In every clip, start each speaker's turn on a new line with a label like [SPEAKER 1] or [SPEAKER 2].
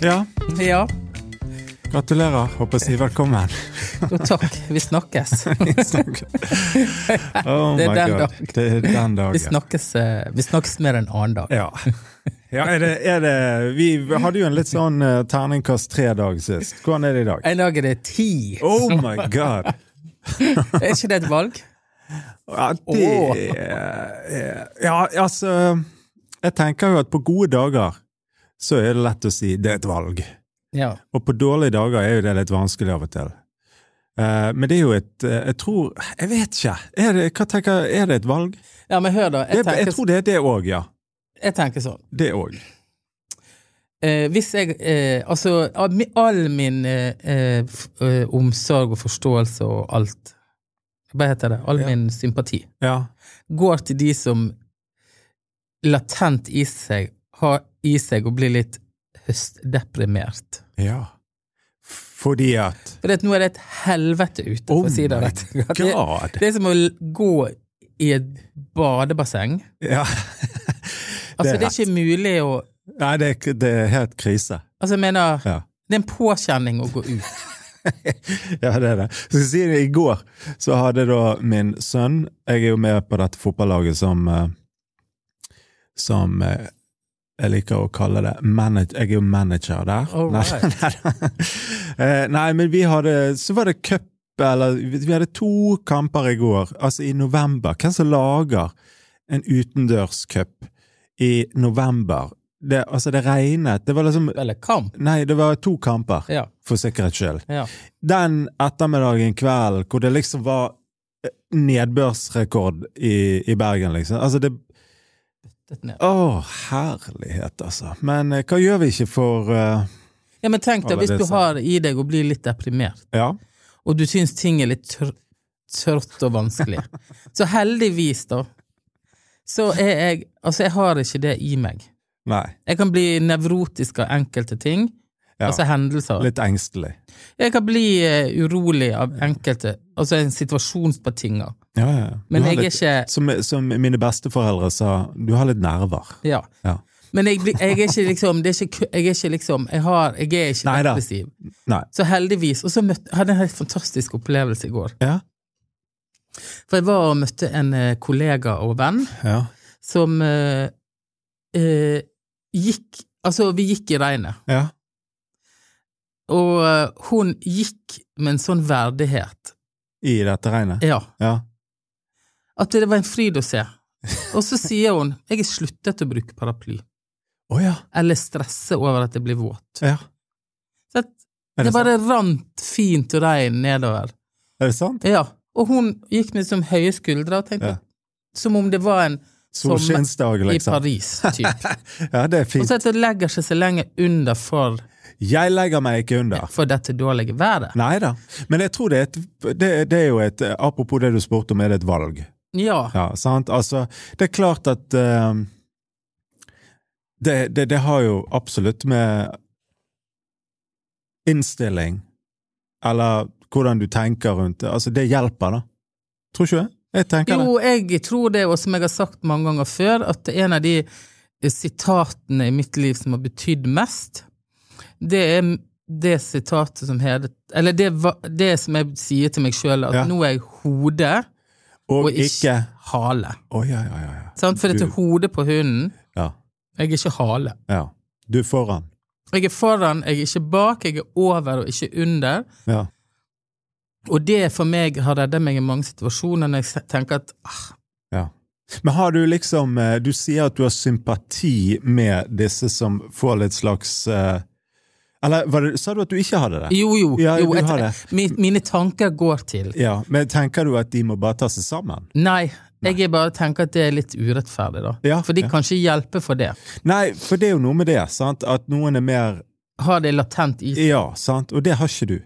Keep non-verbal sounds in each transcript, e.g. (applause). [SPEAKER 1] Ja,
[SPEAKER 2] Ja,
[SPEAKER 1] gratulerer. Håper å si
[SPEAKER 2] (laughs)
[SPEAKER 1] velkommen.
[SPEAKER 2] jo takk. Vi snakkes.
[SPEAKER 1] Oh
[SPEAKER 2] Det er
[SPEAKER 1] my
[SPEAKER 2] den
[SPEAKER 1] God.
[SPEAKER 2] dagen.
[SPEAKER 1] Det er den
[SPEAKER 2] Vi
[SPEAKER 1] dagen.
[SPEAKER 2] snakkes, eh, vi snakkes mer en annen dag.
[SPEAKER 1] Ja. ja er det, er det, vi hadde jo en litt sånn eh, terningkast tre-dag sist. Hvordan er det i dag?
[SPEAKER 2] En dag er det ti.
[SPEAKER 1] Oh my god!
[SPEAKER 2] Er ikke det et valg?
[SPEAKER 1] Ja, det
[SPEAKER 2] Åh.
[SPEAKER 1] eh, Ja, altså Jeg tenker jo at på gode dager så er det lett å si det er et valg.
[SPEAKER 2] Ja.
[SPEAKER 1] Og på dårlige dager er jo det litt vanskelig av og til. Eh, Men det er jo et eh, Jeg tror Jeg vet ikke. Er det, hva tenker, er det et valg?
[SPEAKER 2] ja, men hør, da.
[SPEAKER 1] Jeg,
[SPEAKER 2] Jeg
[SPEAKER 1] jeg,
[SPEAKER 2] tenker,
[SPEAKER 1] tror det er det òg, ja.
[SPEAKER 2] jeg tenker sånn.
[SPEAKER 1] Det òg.
[SPEAKER 2] Eh, hvis jeg eh, Altså, all mi- all min eh, eh, f- eh, omsorg og forståelse og alt Hva heter det? All
[SPEAKER 1] Ja.
[SPEAKER 2] min sympati
[SPEAKER 1] Ja.
[SPEAKER 2] går til de som latent i seg har i seg å bli litt høstdeprimert.
[SPEAKER 1] ja. Fordi at
[SPEAKER 2] For det, at nå er det et helvete ute,
[SPEAKER 1] Oh
[SPEAKER 2] for å si det
[SPEAKER 1] my
[SPEAKER 2] rett. Det,
[SPEAKER 1] God!
[SPEAKER 2] det er som å l- gå i et badebasseng.
[SPEAKER 1] Ja.
[SPEAKER 2] Altså,
[SPEAKER 1] Det er
[SPEAKER 2] det er ikke mulig å
[SPEAKER 1] Nei, det, er- det er helt krise.
[SPEAKER 2] Altså, jeg mener,
[SPEAKER 1] Ja.
[SPEAKER 2] det er en påkjenning å gå ut.
[SPEAKER 1] (laughs) Ja, det er det. Så skal jeg si det, I går så hadde da min sønn Jeg er jo med på dette fotballaget som eh, Som eh, jeg liker å kalle det manage, Jeg er jo manager der.
[SPEAKER 2] All
[SPEAKER 1] Nei,
[SPEAKER 2] right.
[SPEAKER 1] (laughs) nei, Eh, nei, men vi hadde Så var det cup, eller Vi hadde to kamper i går, altså i november. Hvem som lager en utendørscup i november? Det, altså, det regnet. Det var liksom
[SPEAKER 2] Eller kamp.
[SPEAKER 1] Nei, det var to kamper,
[SPEAKER 2] Ja.
[SPEAKER 1] for sikkerhets skyld
[SPEAKER 2] ja.
[SPEAKER 1] den ettermiddagen, kvelden, hvor det liksom var nedbørsrekord i, i Bergen, liksom. Altså, det
[SPEAKER 2] Dette ned.
[SPEAKER 1] Å, herlighet, altså. Men eh, hva gjør vi ikke for eh,
[SPEAKER 2] Ja, men tenk deg,
[SPEAKER 1] Alle
[SPEAKER 2] hvis du
[SPEAKER 1] disse.
[SPEAKER 2] har i deg å bli litt deprimert,
[SPEAKER 1] Ja.
[SPEAKER 2] og du syns ting er litt tr tørt og
[SPEAKER 1] (laughs)
[SPEAKER 2] vanskelig, så heldigvis, da, så er jeg Altså, jeg har ikke det i meg.
[SPEAKER 1] Nei.
[SPEAKER 2] Jeg kan bli nevrotisk av enkelte ting,
[SPEAKER 1] Ja.
[SPEAKER 2] altså hendelser.
[SPEAKER 1] Litt engstelig.
[SPEAKER 2] Jeg kan bli eh, urolig av enkelte, altså en situasjonsbetinger.
[SPEAKER 1] Ja, ja. ja.
[SPEAKER 2] Men
[SPEAKER 1] Du har
[SPEAKER 2] jeg er
[SPEAKER 1] litt,
[SPEAKER 2] ikke-
[SPEAKER 1] som, som mine besteforeldre sa, du har litt nerver.
[SPEAKER 2] Ja.
[SPEAKER 1] Ja.
[SPEAKER 2] Men jeg, blir- jeg er ikke liksom det er ikke, ku- Jeg er ikke liksom Jeg, har, jeg er ikke
[SPEAKER 1] Neida.
[SPEAKER 2] depressiv.
[SPEAKER 1] Nei.
[SPEAKER 2] Så heldigvis. Og så møtte, hadde jeg en helt fantastisk opplevelse i går.
[SPEAKER 1] Ja.
[SPEAKER 2] For jeg var og møtte en eh, kollega og venn
[SPEAKER 1] Ja.
[SPEAKER 2] som eh, eh, gikk Altså, vi gikk i regnet,
[SPEAKER 1] Ja.
[SPEAKER 2] og eh, hun gikk med en sånn verdighet.
[SPEAKER 1] I dette regnet.
[SPEAKER 2] Ja.
[SPEAKER 1] Ja.
[SPEAKER 2] At det var en fryd å se. Og så sier hun 'jeg har sluttet å bruke paraply',
[SPEAKER 1] Å ja.
[SPEAKER 2] eller stresse over at jeg blir våt.
[SPEAKER 1] ja.
[SPEAKER 2] Så at
[SPEAKER 1] Er
[SPEAKER 2] det
[SPEAKER 1] det, sant?
[SPEAKER 2] bare rant fint regn nedover.
[SPEAKER 1] er det sant?
[SPEAKER 2] Ja. Og hun gikk med som høye skuldre og tenkte
[SPEAKER 1] Ja.
[SPEAKER 2] som om det var en sommer
[SPEAKER 1] Solskinnsdag,
[SPEAKER 2] i
[SPEAKER 1] liksom. (laughs)
[SPEAKER 2] Paris, typ.
[SPEAKER 1] Ja, det er
[SPEAKER 2] Og
[SPEAKER 1] fint.
[SPEAKER 2] så at det legger seg så lenge under for,
[SPEAKER 1] Jeg legger meg ikke under.
[SPEAKER 2] for dette dårlige været.
[SPEAKER 1] Nei da. Men jeg tror det er et, det, det er jo et Apropos det du spurte om, er det et valg?
[SPEAKER 2] Ja.
[SPEAKER 1] Ja, sant? Altså, det er klart at eh, det, det, det har jo absolutt med innstilling Eller hvordan du tenker rundt det. Altså, det hjelper, da. Tror ikke du det? Jeg tenker det.
[SPEAKER 2] Jo, jeg tror det, og som jeg har sagt mange ganger før, at en av de eh, sitatene i mitt liv som har betydd mest, det er det sitatet som heter Eller det, va- det som jeg sier til meg sjøl, at
[SPEAKER 1] Ja.
[SPEAKER 2] nå er jeg hode,
[SPEAKER 1] Og
[SPEAKER 2] og ikke-
[SPEAKER 1] ikke
[SPEAKER 2] hale.
[SPEAKER 1] Å, ja, ja, ja, ja.
[SPEAKER 2] Sant? For dette
[SPEAKER 1] Du-
[SPEAKER 2] er hodet på hunden.
[SPEAKER 1] ja.
[SPEAKER 2] Jeg er ikke hale.
[SPEAKER 1] Ja. Du er foran.
[SPEAKER 2] Jeg er foran, jeg er ikke bak, jeg er over og ikke under.
[SPEAKER 1] Ja.
[SPEAKER 2] Og det for meg har redda meg i mange situasjoner når jeg se- tenker at ah,
[SPEAKER 1] Ja. Men har du liksom eh, Du sier at du har sympati med disse som får litt slags eh, Eller var det, sa du at du ikke hadde det?
[SPEAKER 2] Jo, jo,
[SPEAKER 1] Ja,
[SPEAKER 2] jo
[SPEAKER 1] du
[SPEAKER 2] jeg-
[SPEAKER 1] har det.
[SPEAKER 2] mi- mine tanker går til
[SPEAKER 1] Ja, Men tenker du at de må bare ta seg sammen?
[SPEAKER 2] Nei, jeg er bare tenker at det er litt urettferdig, da.
[SPEAKER 1] Ja,
[SPEAKER 2] For de
[SPEAKER 1] ja.
[SPEAKER 2] kan ikke hjelpe for det.
[SPEAKER 1] Nei, for det er jo noe med det, sant? At noen er mer
[SPEAKER 2] Har det latent i seg.
[SPEAKER 1] Ja, sant? Og det har ikke du.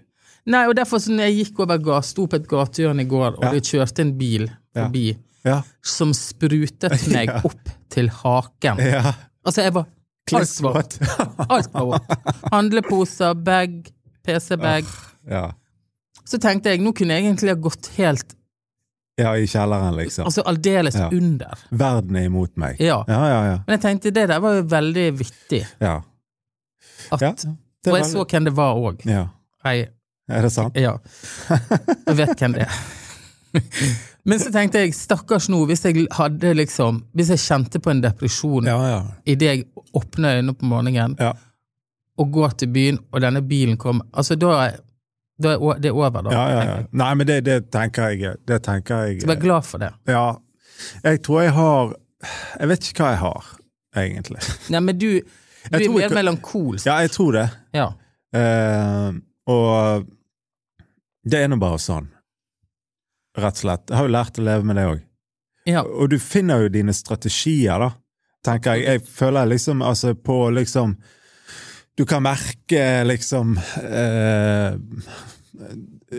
[SPEAKER 2] Nei, og derfor, så når jeg gikk over gas, sto på et gatehjørne i går, og
[SPEAKER 1] Ja.
[SPEAKER 2] det kjørte en bil
[SPEAKER 1] Ja.
[SPEAKER 2] forbi
[SPEAKER 1] Ja. (laughs)
[SPEAKER 2] som sprutet meg
[SPEAKER 1] Ja. Eh.
[SPEAKER 2] opp til haken.
[SPEAKER 1] ja.
[SPEAKER 2] Altså, jeg var Alt var
[SPEAKER 1] Klissvåt.
[SPEAKER 2] Alt var vått. Handleposer, bag, PC-bag.
[SPEAKER 1] (laughs) ja.
[SPEAKER 2] Så tenkte jeg, nå kunne jeg egentlig ha gått helt
[SPEAKER 1] ja, i kjelleren, liksom.
[SPEAKER 2] Altså aldeles
[SPEAKER 1] Ja.
[SPEAKER 2] under.
[SPEAKER 1] Verden er imot meg.
[SPEAKER 2] Ja.
[SPEAKER 1] Ja, ja, ja.
[SPEAKER 2] Men jeg tenkte det der var jo veldig vittig.
[SPEAKER 1] ja.
[SPEAKER 2] At
[SPEAKER 1] Ja. Det
[SPEAKER 2] Og
[SPEAKER 1] er
[SPEAKER 2] jeg så hvem det var òg.
[SPEAKER 1] Ja.
[SPEAKER 2] Jeg,
[SPEAKER 1] Er det sant?
[SPEAKER 2] ja. jeg vet hvem det er. Men så tenkte jeg, stakkars nå, hvis jeg hadde liksom Hvis jeg kjente på en depresjon
[SPEAKER 1] Ja, ja.
[SPEAKER 2] idet jeg åpner øynene på morgenen
[SPEAKER 1] Ja,
[SPEAKER 2] og går til byen, og denne bilen kommer Altså, da er, da er å- det er over, da.
[SPEAKER 1] ja, ja, ja.
[SPEAKER 2] tenker jeg.
[SPEAKER 1] Nei, men det, det tenker jeg. Det tenker jeg.
[SPEAKER 2] Så vær glad for det.
[SPEAKER 1] Ja. Jeg tror jeg har Jeg vet ikke hva jeg har, egentlig.
[SPEAKER 2] Nei, men du, du
[SPEAKER 1] Jeg
[SPEAKER 2] er
[SPEAKER 1] tror
[SPEAKER 2] mer
[SPEAKER 1] ikke-
[SPEAKER 2] melankolsk.
[SPEAKER 1] Ja, jeg tror det.
[SPEAKER 2] Ja.
[SPEAKER 1] Eh, og det er nå bare sånn. Rett og slett. Jeg har jo lært å leve med det òg.
[SPEAKER 2] ja.
[SPEAKER 1] Og du finner jo dine strategier, da, tenker jeg. Jeg føler liksom altså på liksom Du kan merke liksom eh,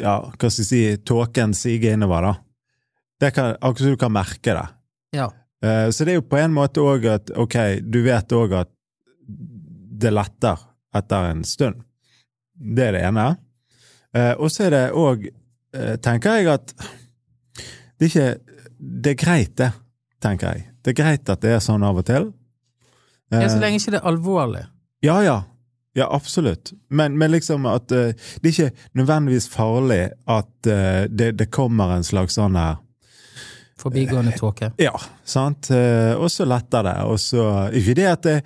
[SPEAKER 1] Ja, hva skal jeg si Tåken siger innover, da. Det kan, akkurat som du kan merke det.
[SPEAKER 2] ja.
[SPEAKER 1] Eh, Så det er jo på en måte òg at ok, du vet òg at det letter etter en stund. Det er det ene. Eh, Og så er det òg, eh, tenker jeg at det er ikke Det er greit, det, tenker jeg. Det er greit at det er sånn av og til.
[SPEAKER 2] ja. Så
[SPEAKER 1] Eh,
[SPEAKER 2] lenge ikke det er alvorlig.
[SPEAKER 1] ja, ja. Ja, absolutt. Men, men liksom at eh, det er ikke nødvendigvis farlig at eh, det, det kommer en slags sånn her
[SPEAKER 2] Forbigående tåke.
[SPEAKER 1] ja, sant. Eh, Og så letter det, og så Ikke det at det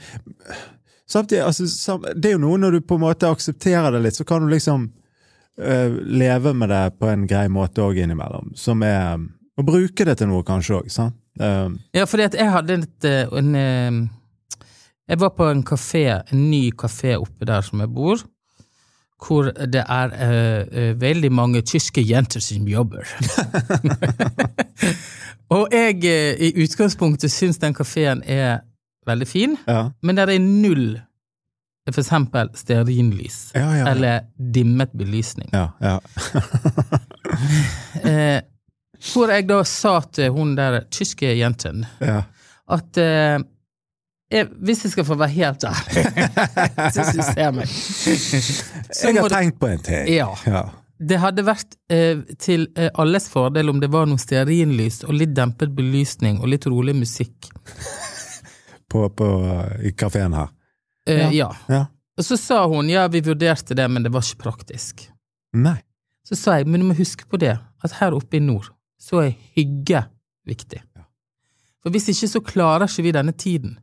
[SPEAKER 1] Samtidig, altså, sam- det er jo noe når du på en måte aksepterer det litt, så kan du liksom eh, leve med det på en grei måte òg innimellom. Som er Å bruke det til noe, kanskje òg, sant. Eh,
[SPEAKER 2] Ja, fordi at jeg hadde et, eh, en eh, Jeg var på en kafé, en ny kafé oppe der som jeg bor, hvor det er eh, eh, veldig mange tyske jenter som (laughs) jobber. Og jeg eh, i utgangspunktet syns den kafeen er veldig fin,
[SPEAKER 1] ja.
[SPEAKER 2] men der er null for eksempel stearinlys.
[SPEAKER 1] Ja, ja, ja.
[SPEAKER 2] Eller dimmet belysning.
[SPEAKER 1] ja, ja.
[SPEAKER 2] Eh, hvor jeg da sa til hun der tyske jenten (laughs)
[SPEAKER 1] ja.
[SPEAKER 2] at eh, jeg, Hvis jeg skal få være helt ærlig (laughs) til
[SPEAKER 1] (laughs)
[SPEAKER 2] systemet så
[SPEAKER 1] Jeg
[SPEAKER 2] må
[SPEAKER 1] har
[SPEAKER 2] det,
[SPEAKER 1] tenkt på en ting.
[SPEAKER 2] ja,
[SPEAKER 1] Ja.
[SPEAKER 2] det hadde vært eh, til eh, alles fordel om det var noe stearinlys og litt dempet belysning og litt rolig musikk.
[SPEAKER 1] På, på, eh, I kafeen her.
[SPEAKER 2] Eh,
[SPEAKER 1] Ja.
[SPEAKER 2] ja.
[SPEAKER 1] Ja.
[SPEAKER 2] Og så sa hun ja, vi vurderte det, men det var ikke praktisk.
[SPEAKER 1] Nei.
[SPEAKER 2] Så sa jeg, men du må huske på det, at her oppe i nord så er hygge viktig.
[SPEAKER 1] Ja.
[SPEAKER 2] For hvis ikke så klarer ikke vi denne tiden.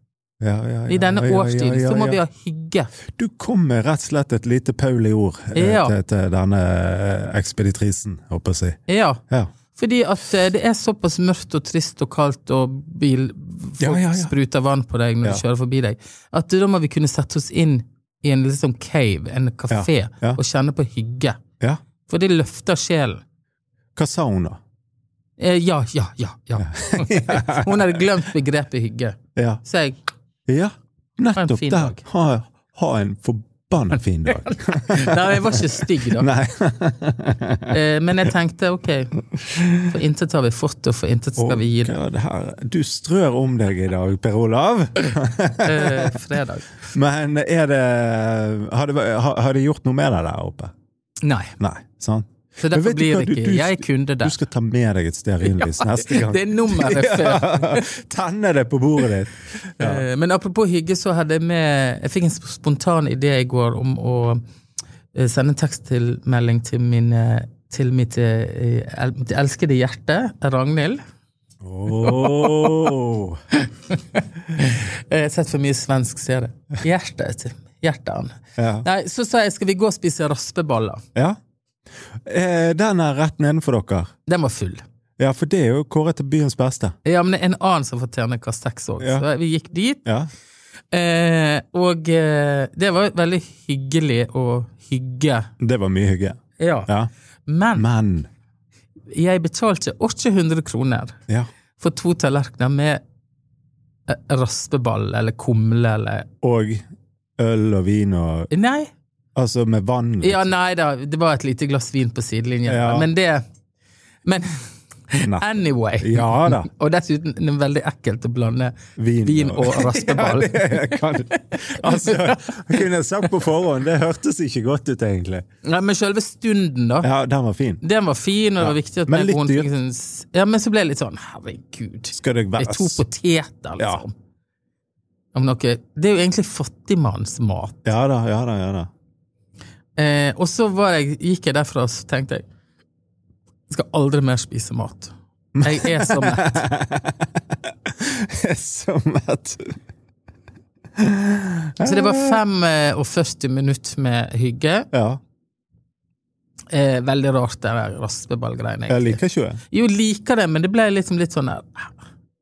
[SPEAKER 1] Ja, ja, ja,
[SPEAKER 2] I denne
[SPEAKER 1] ja, ja,
[SPEAKER 2] årstiden
[SPEAKER 1] ja,
[SPEAKER 2] så må
[SPEAKER 1] ja.
[SPEAKER 2] vi ha hygge.
[SPEAKER 1] Du kom med rett og slett et lite Pauli-ord eh,
[SPEAKER 2] Ja.
[SPEAKER 1] til, til denne eh, ekspeditrisen, håper jeg å si.
[SPEAKER 2] Ja,
[SPEAKER 1] Ja.
[SPEAKER 2] fordi at eh, det er såpass mørkt og trist og kaldt og bil Folk
[SPEAKER 1] Ja, ja, ja.
[SPEAKER 2] spruter vann på deg når
[SPEAKER 1] Ja.
[SPEAKER 2] du kjører forbi deg. At da må vi kunne sette oss inn i en liksom cave, en kafé,
[SPEAKER 1] ja.
[SPEAKER 2] og kjenne på hygge.
[SPEAKER 1] ja.
[SPEAKER 2] For det løfter sjelen.
[SPEAKER 1] Hva sa hun, da?
[SPEAKER 2] Eh, ja, ja, ja, ja. (laughs) Hun hadde glemt begrepet hygge.
[SPEAKER 1] Ja,
[SPEAKER 2] Så jeg
[SPEAKER 1] ja. nettopp
[SPEAKER 2] fin
[SPEAKER 1] der.
[SPEAKER 2] dag.
[SPEAKER 1] Ha, ha en forbanna fin
[SPEAKER 2] (laughs)
[SPEAKER 1] dag.
[SPEAKER 2] Nei, jeg var ikke stygg, da.
[SPEAKER 1] Nei.
[SPEAKER 2] Eh, men jeg tenkte ok, for intet har vi fått, og for intet skal vi gi det
[SPEAKER 1] Å, hva er det her? Du strør om deg i dag, Per Olav.
[SPEAKER 2] eh, fredag.
[SPEAKER 1] Men er det Har det, har, har det gjort noe med deg der oppe?
[SPEAKER 2] Nei.
[SPEAKER 1] Nei. sant?
[SPEAKER 2] Så
[SPEAKER 1] Men
[SPEAKER 2] derfor
[SPEAKER 1] vet du
[SPEAKER 2] blir
[SPEAKER 1] hva,
[SPEAKER 2] det
[SPEAKER 1] du-
[SPEAKER 2] ikke.
[SPEAKER 1] du-
[SPEAKER 2] Jeg er kunde
[SPEAKER 1] Du
[SPEAKER 2] der.
[SPEAKER 1] skal ta med deg et
[SPEAKER 2] (laughs)
[SPEAKER 1] stearinlys neste gang.
[SPEAKER 2] Det er nummeret før.
[SPEAKER 1] (laughs) Ja, Tenne det på bordet ditt. Ja.
[SPEAKER 2] Eh, Men apropos hygge, så hadde jeg med Jeg fikk en sp- spontan idé i går om å eh, sende en tekstmelding til, mine- til mitt eh, el, mitt elskede hjerte, Ragnhild.
[SPEAKER 1] Åh.
[SPEAKER 2] Eh, Jeg har sett for mye svensk serie. Hjertet til hjerteren.
[SPEAKER 1] Ja.
[SPEAKER 2] Nei, så sa jeg skal vi gå og spise raspeballer.
[SPEAKER 1] ja. Eh, Den er rett nedenfor dere.
[SPEAKER 2] Den var full.
[SPEAKER 1] Ja, for det er jo kåret til byens beste.
[SPEAKER 2] Ja, men det er en annen som får ternekast seks òg,
[SPEAKER 1] Ja.
[SPEAKER 2] så vi gikk dit.
[SPEAKER 1] Ja.
[SPEAKER 2] Eh, og eh, det var veldig hyggelig å hygge.
[SPEAKER 1] Det var mye hygge.
[SPEAKER 2] Ja.
[SPEAKER 1] Ja.
[SPEAKER 2] Men
[SPEAKER 1] Men
[SPEAKER 2] jeg betalte 800 kroner
[SPEAKER 1] ja.
[SPEAKER 2] for to tallerkener med eh, raspeball eller kumle eller
[SPEAKER 1] Og øl og vin og
[SPEAKER 2] Nei!
[SPEAKER 1] Altså med vann.
[SPEAKER 2] Ja, nei da, det var et lite glass vin på sidelinjen,
[SPEAKER 1] Ja.
[SPEAKER 2] men det Men
[SPEAKER 1] Nei.
[SPEAKER 2] anyway.
[SPEAKER 1] Ja da.
[SPEAKER 2] Og dessuten det er veldig ekkelt å blande
[SPEAKER 1] Vin,
[SPEAKER 2] vin og
[SPEAKER 1] (laughs) Ja,
[SPEAKER 2] raspeball.
[SPEAKER 1] det kan Altså, jeg kunne jeg sagt på forhånd, det hørtes ikke godt ut, egentlig.
[SPEAKER 2] Nei, men selve stunden, da.
[SPEAKER 1] Ja, den var fin.
[SPEAKER 2] Den var fin, og det var viktig at
[SPEAKER 1] men
[SPEAKER 2] meg
[SPEAKER 1] litt
[SPEAKER 2] og hun
[SPEAKER 1] dyr.
[SPEAKER 2] fikk sånn s- Ja, men så ble jeg litt sånn Herregud,
[SPEAKER 1] Skal det
[SPEAKER 2] det
[SPEAKER 1] være
[SPEAKER 2] er to poteter,
[SPEAKER 1] Ja.
[SPEAKER 2] liksom. Om noe, det er jo egentlig fattigmannsmat.
[SPEAKER 1] Ja da, (laughs) ja da, ja da.
[SPEAKER 2] Eh, og så var jeg, gikk jeg derfra og så tenkte jeg jeg skal aldri mer spise mat. Jeg er så mett.
[SPEAKER 1] Jeg er så mett.
[SPEAKER 2] Så det var eh, 45 minutter med hygge.
[SPEAKER 1] Ja,
[SPEAKER 2] Eh, veldig rart, det der raspeballgreiene.
[SPEAKER 1] jeg
[SPEAKER 2] egentlig.
[SPEAKER 1] liker ikke det.
[SPEAKER 2] Jo, liker det, men det ble liksom litt sånn der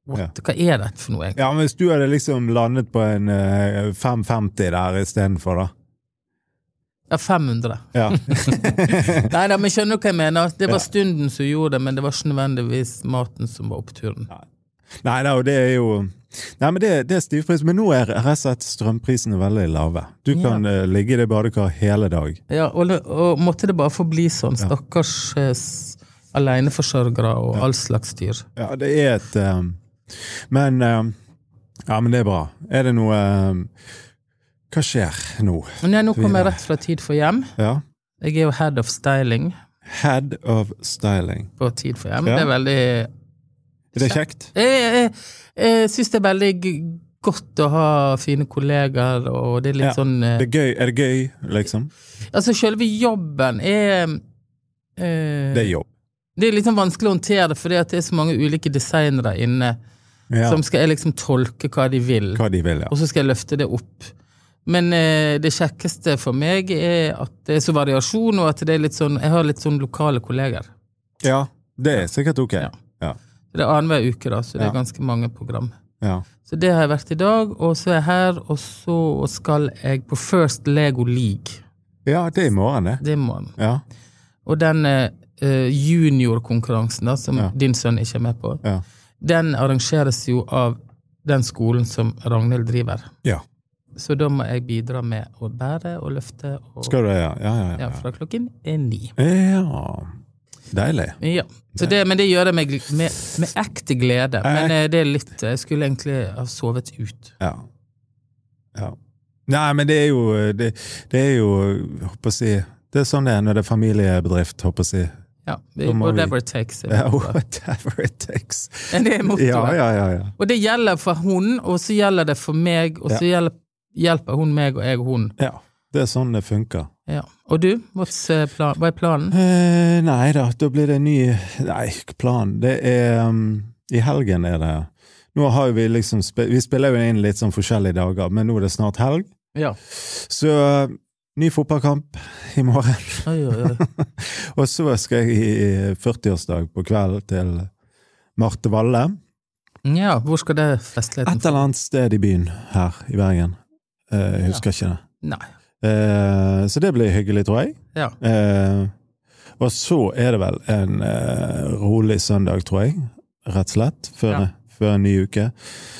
[SPEAKER 2] what,
[SPEAKER 1] Ja.
[SPEAKER 2] Hva er dette for noe, egentlig?
[SPEAKER 1] Ja, men hvis du hadde liksom landet på en eh, 550 der istedenfor, da.
[SPEAKER 2] Ja, 500.
[SPEAKER 1] (laughs)
[SPEAKER 2] (laughs)
[SPEAKER 1] Ja.
[SPEAKER 2] Nei da, men skjønner du hva jeg mener? Det var
[SPEAKER 1] Ja.
[SPEAKER 2] stunden som gjorde det, men det var ikke nødvendigvis maten som var oppturen.
[SPEAKER 1] Nei da, og det er jo Nei, men det, det er stivpris. Men nå er rett og slett strømprisene veldig lave. Du
[SPEAKER 2] Ja.
[SPEAKER 1] kan eh, ligge i det badekaret hele dag.
[SPEAKER 2] Ja, og, og måtte det bare få bli sånn, stakkars eh, s- aleneforsørgere og all slags dyr.
[SPEAKER 1] Ja, det er et ehm, Men ehm, Ja, men det er bra. Er det noe ehm, Hva skjer nå?
[SPEAKER 2] Men ja, nå kom jeg rett fra Tid for hjem.
[SPEAKER 1] Ja.
[SPEAKER 2] Jeg er jo head of styling
[SPEAKER 1] Head of styling.
[SPEAKER 2] på Tid for hjem.
[SPEAKER 1] Ja.
[SPEAKER 2] Det er veldig
[SPEAKER 1] Er det kjekt?
[SPEAKER 2] Jeg, jeg, jeg syns det er veldig g- godt å ha fine kollegaer, og det er litt
[SPEAKER 1] Ja.
[SPEAKER 2] sånn eh,
[SPEAKER 1] Det er, gøy, er det gøy, liksom?
[SPEAKER 2] Altså, selve jobben er eh,
[SPEAKER 1] Det er jobb.
[SPEAKER 2] Det er litt sånn vanskelig å håndtere, fordi at det er så mange ulike designere inne
[SPEAKER 1] Ja,
[SPEAKER 2] som skal jeg liksom tolke hva de vil,
[SPEAKER 1] hva de vil, ja.
[SPEAKER 2] og så skal jeg løfte det opp. Men eh, det kjekkeste for meg er at det er så variasjon, og at det er litt sånn, jeg har litt sånn lokale kolleger.
[SPEAKER 1] Ja, det er sikkert ok. Ja.
[SPEAKER 2] Det er annenhver uke, da, så det
[SPEAKER 1] Ja.
[SPEAKER 2] er ganske mange program.
[SPEAKER 1] ja.
[SPEAKER 2] Så det har jeg vært i dag, og så er jeg her, og så skal jeg på First Lego League.
[SPEAKER 1] Ja, det er i morgen, det.
[SPEAKER 2] Det må han.
[SPEAKER 1] Ja.
[SPEAKER 2] Og den eh, juniorkonkurransen da, som
[SPEAKER 1] Ja.
[SPEAKER 2] din sønn ikke er med på,
[SPEAKER 1] Ja.
[SPEAKER 2] den arrangeres jo av den skolen som Ragnhild driver.
[SPEAKER 1] ja.
[SPEAKER 2] Så da må jeg bidra med å bære og løfte og,
[SPEAKER 1] Skal du det? Ja, ja, ja.
[SPEAKER 2] ja,
[SPEAKER 1] ja.
[SPEAKER 2] fra klokken er ni.
[SPEAKER 1] ja. Deilig.
[SPEAKER 2] Ja. Så det, men det gjør jeg med, gl- med, med ekte glede. Men eh, det er litt Jeg skulle egentlig ha sovet ut.
[SPEAKER 1] Ja. ja. Nei, men det er jo Det, det er jo, håper jeg å si Det er sånn det er når det er familiebedrift, håper jeg å si.
[SPEAKER 2] Ja.
[SPEAKER 1] Da må
[SPEAKER 2] Whatever it takes.
[SPEAKER 1] Ja,
[SPEAKER 2] er
[SPEAKER 1] (laughs)
[SPEAKER 2] mottoet.
[SPEAKER 1] Whatever it takes.
[SPEAKER 2] Men (laughs) Det er mottoet.
[SPEAKER 1] Ja, ja, ja. ja.
[SPEAKER 2] Og det gjelder for hun, og så gjelder det for meg, og så gjelder, hjelper hun meg og jeg hun.
[SPEAKER 1] ja. Det er sånn det funker.
[SPEAKER 2] Ja. Og du, what's, eh, plan, hva er planen?
[SPEAKER 1] Eh, nei da, da blir det en ny Nei, plan. Det er um, I helgen er det Nå har jo vi liksom spe- Vi spiller jo inn litt sånn forskjellige dager, men nå er det snart helg.
[SPEAKER 2] Ja.
[SPEAKER 1] Så eh, ny fotballkamp i morgen. (laughs)
[SPEAKER 2] Oi, oi, oi.
[SPEAKER 1] Og så skal jeg i 40-årsdag på kvelden til Marte Valle.
[SPEAKER 2] ja, hvor skal det festligheten
[SPEAKER 1] Et eller annet sted i byen her i Bergen. Eh, jeg husker ikke det.
[SPEAKER 2] Nei.
[SPEAKER 1] Eh, så det blir hyggelig, tror jeg.
[SPEAKER 2] Ja.
[SPEAKER 1] Eh, og så er det vel en eh, rolig søndag, tror jeg. Rett og slett. Før,
[SPEAKER 2] Ja.
[SPEAKER 1] før en ny uke.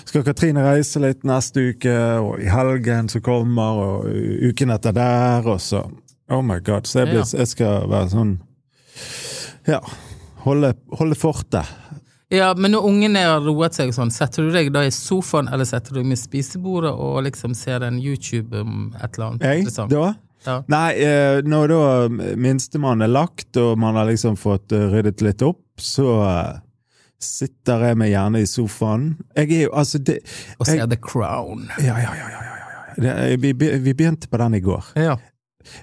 [SPEAKER 1] Skal Katrine reise litt neste uke, og i helgen som kommer, og uken etter der, og så Oh my god. Så jeg, blir, jeg skal være sånn Ja. Holde, holde fortet.
[SPEAKER 2] ja, men når ungene har roet seg og sånn, setter du deg da i sofaen, eller setter du deg med spisebordet og liksom ser en YouTube om et eller annet
[SPEAKER 1] Jeg,
[SPEAKER 2] interessant?
[SPEAKER 1] da?
[SPEAKER 2] Ja.
[SPEAKER 1] Nei, eh, når da minstemann er lagt, og man har liksom fått eh, ryddet litt opp, så eh, sitter jeg meg gjerne i sofaen. Jeg er jo altså det,
[SPEAKER 2] Og ser The Crown.
[SPEAKER 1] Ja, ja, ja. ja, ja, ja. ja. Det, eh, vi, be- vi begynte på den i går.
[SPEAKER 2] Ja.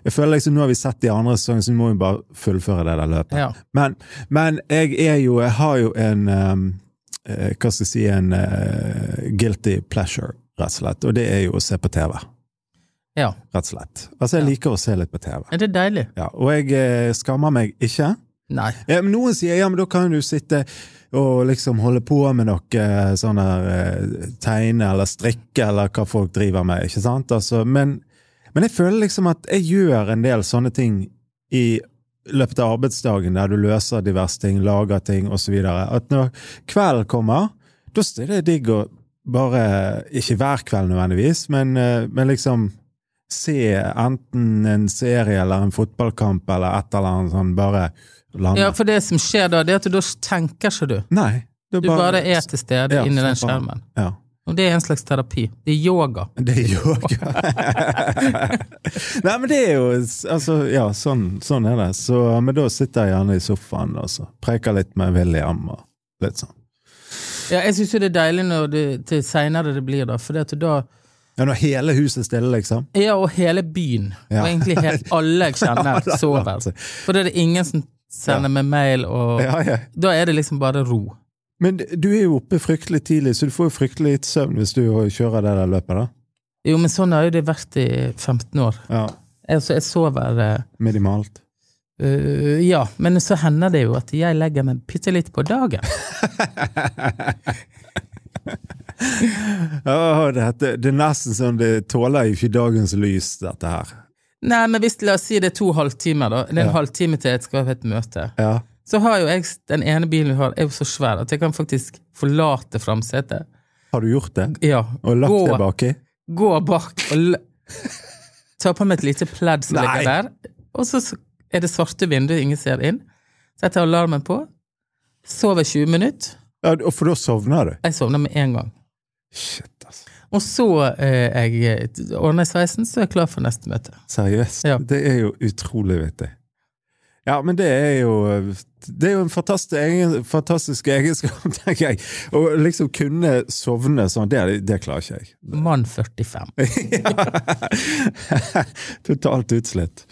[SPEAKER 1] Jeg føler liksom Nå har vi sett de andre sesongene, så nå må vi bare fullføre det der løpet.
[SPEAKER 2] ja.
[SPEAKER 1] Men, men jeg er jo Jeg har jo en eh, eh, Hva skal jeg si En eh, guilty pleasure, rett og slett. Og det er jo å se på TV,
[SPEAKER 2] ja.
[SPEAKER 1] rett og slett. Altså, jeg liker å se litt på TV.
[SPEAKER 2] Er det deilig?
[SPEAKER 1] Ja, og jeg eh, skammer meg ikke.
[SPEAKER 2] Nei.
[SPEAKER 1] Eh, men noen sier ja, men da kan du sitte og liksom holde på med noe eh, sånn der eh, tegne eller strikke eller hva folk driver med, ikke sant? Altså, men, men jeg føler liksom at jeg gjør en del sånne ting i løpet av arbeidsdagen, der du løser diverse ting, lager ting osv. At når kvelden kommer, da er det digg å bare Ikke hver kveld nødvendigvis, men, eh, men liksom se enten en serie eller en fotballkamp eller et eller annet sånn, bare lande.
[SPEAKER 2] Ja, for det som skjer da, det er at du da tenker ikke du.
[SPEAKER 1] Nei. det
[SPEAKER 2] Du bare er til stede
[SPEAKER 1] Ja,
[SPEAKER 2] inni den
[SPEAKER 1] slapp av.
[SPEAKER 2] skjermen.
[SPEAKER 1] Ja.
[SPEAKER 2] Og det er en slags terapi. Det er yoga.
[SPEAKER 1] Det er
[SPEAKER 2] (laughs)
[SPEAKER 1] yoga. Nei, men det er jo altså, Ja, sånn, sånn er det. Så, men da sitter jeg gjerne i sofaen og så preker litt med William og litt sånn.
[SPEAKER 2] Ja, jeg syns jo det er deilig når det, til seinere det blir, da. For da
[SPEAKER 1] Ja, når hele huset er stille, liksom?
[SPEAKER 2] Ja, og hele byen.
[SPEAKER 1] Ja.
[SPEAKER 2] Og egentlig
[SPEAKER 1] (laughs)
[SPEAKER 2] helt alle jeg kjenner,
[SPEAKER 1] det er
[SPEAKER 2] sover.
[SPEAKER 1] sant.
[SPEAKER 2] For da er det ingen som sender meg mail, og
[SPEAKER 1] Ja, ja.
[SPEAKER 2] da er det liksom bare ro.
[SPEAKER 1] Men du er jo oppe fryktelig tidlig, så du får jo fryktelig litt søvn hvis du kjører det der løpet, da.
[SPEAKER 2] Jo, men sånn har jo det vært i 15 år.
[SPEAKER 1] Ja,
[SPEAKER 2] Altså, jeg sover eh,
[SPEAKER 1] Minimalt.
[SPEAKER 2] øh, Ja, men så hender det jo at jeg legger meg bitte litt på
[SPEAKER 1] (laughs)
[SPEAKER 2] dagen.
[SPEAKER 1] Åh, dette, det er nesten sånn det tåler jo ikke dagens lys, dette her.
[SPEAKER 2] Nei, men hvis la oss si det er to halvtimer, da. Det er en
[SPEAKER 1] Ja.
[SPEAKER 2] halvtime til jeg skal ha et møte.
[SPEAKER 1] Ja.
[SPEAKER 2] Så har jo jeg den ene bilen vi har, er jo så svær at jeg kan faktisk forlate framsetet.
[SPEAKER 1] Har du gjort det?
[SPEAKER 2] Ja.
[SPEAKER 1] Og lagt
[SPEAKER 2] gå-
[SPEAKER 1] det baki?
[SPEAKER 2] gå bak og l (laughs) ta på meg et lite pledd som
[SPEAKER 1] Nei.
[SPEAKER 2] ligger der, og så s- er det svarte vinduer, ingen ser inn. Setter alarmen på, sover 20 minutter.
[SPEAKER 1] Ja, og for da sovner du?
[SPEAKER 2] Jeg sovner med en gang.
[SPEAKER 1] Shit, altså.
[SPEAKER 2] Og så eh, jeg ordner jeg sveisen, så er jeg klar for neste møte.
[SPEAKER 1] Seriøst.
[SPEAKER 2] Ja.
[SPEAKER 1] Det er jo utrolig vittig. Ja, men det er jo Det er jo en fantastisk, egen, fantastisk egenskap, (laughs) tenker jeg. Å liksom kunne sovne sånn, det, det klarer ikke jeg. (laughs)
[SPEAKER 2] Mann 45.
[SPEAKER 1] Ja. Totalt utslitt.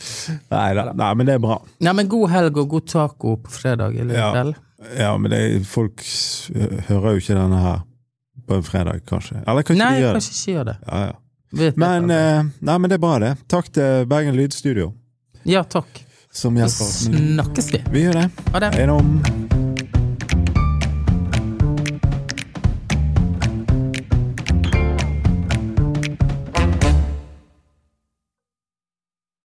[SPEAKER 1] Nei da. Nei, men det er bra.
[SPEAKER 2] Nei, men god helg og god taco på fredag i
[SPEAKER 1] Ja.
[SPEAKER 2] kveld.
[SPEAKER 1] Ja, men det, folk s- hører jo ikke denne her på en fredag, kanskje. Eller kanskje
[SPEAKER 2] Nei,
[SPEAKER 1] de gjør det.
[SPEAKER 2] kanskje ikke gjør det.
[SPEAKER 1] Ja, ja.
[SPEAKER 2] Vet jeg
[SPEAKER 1] Men,
[SPEAKER 2] ikke.
[SPEAKER 1] eh, nei, men det er bra, det. Takk til Bergen Lydstudio,
[SPEAKER 2] Ja, takk.
[SPEAKER 1] som
[SPEAKER 2] Så
[SPEAKER 1] hjelper oss. med lyd.
[SPEAKER 2] snakkes vi.
[SPEAKER 1] Vi gjør det.
[SPEAKER 2] Mm. Ha det.
[SPEAKER 1] Hei da.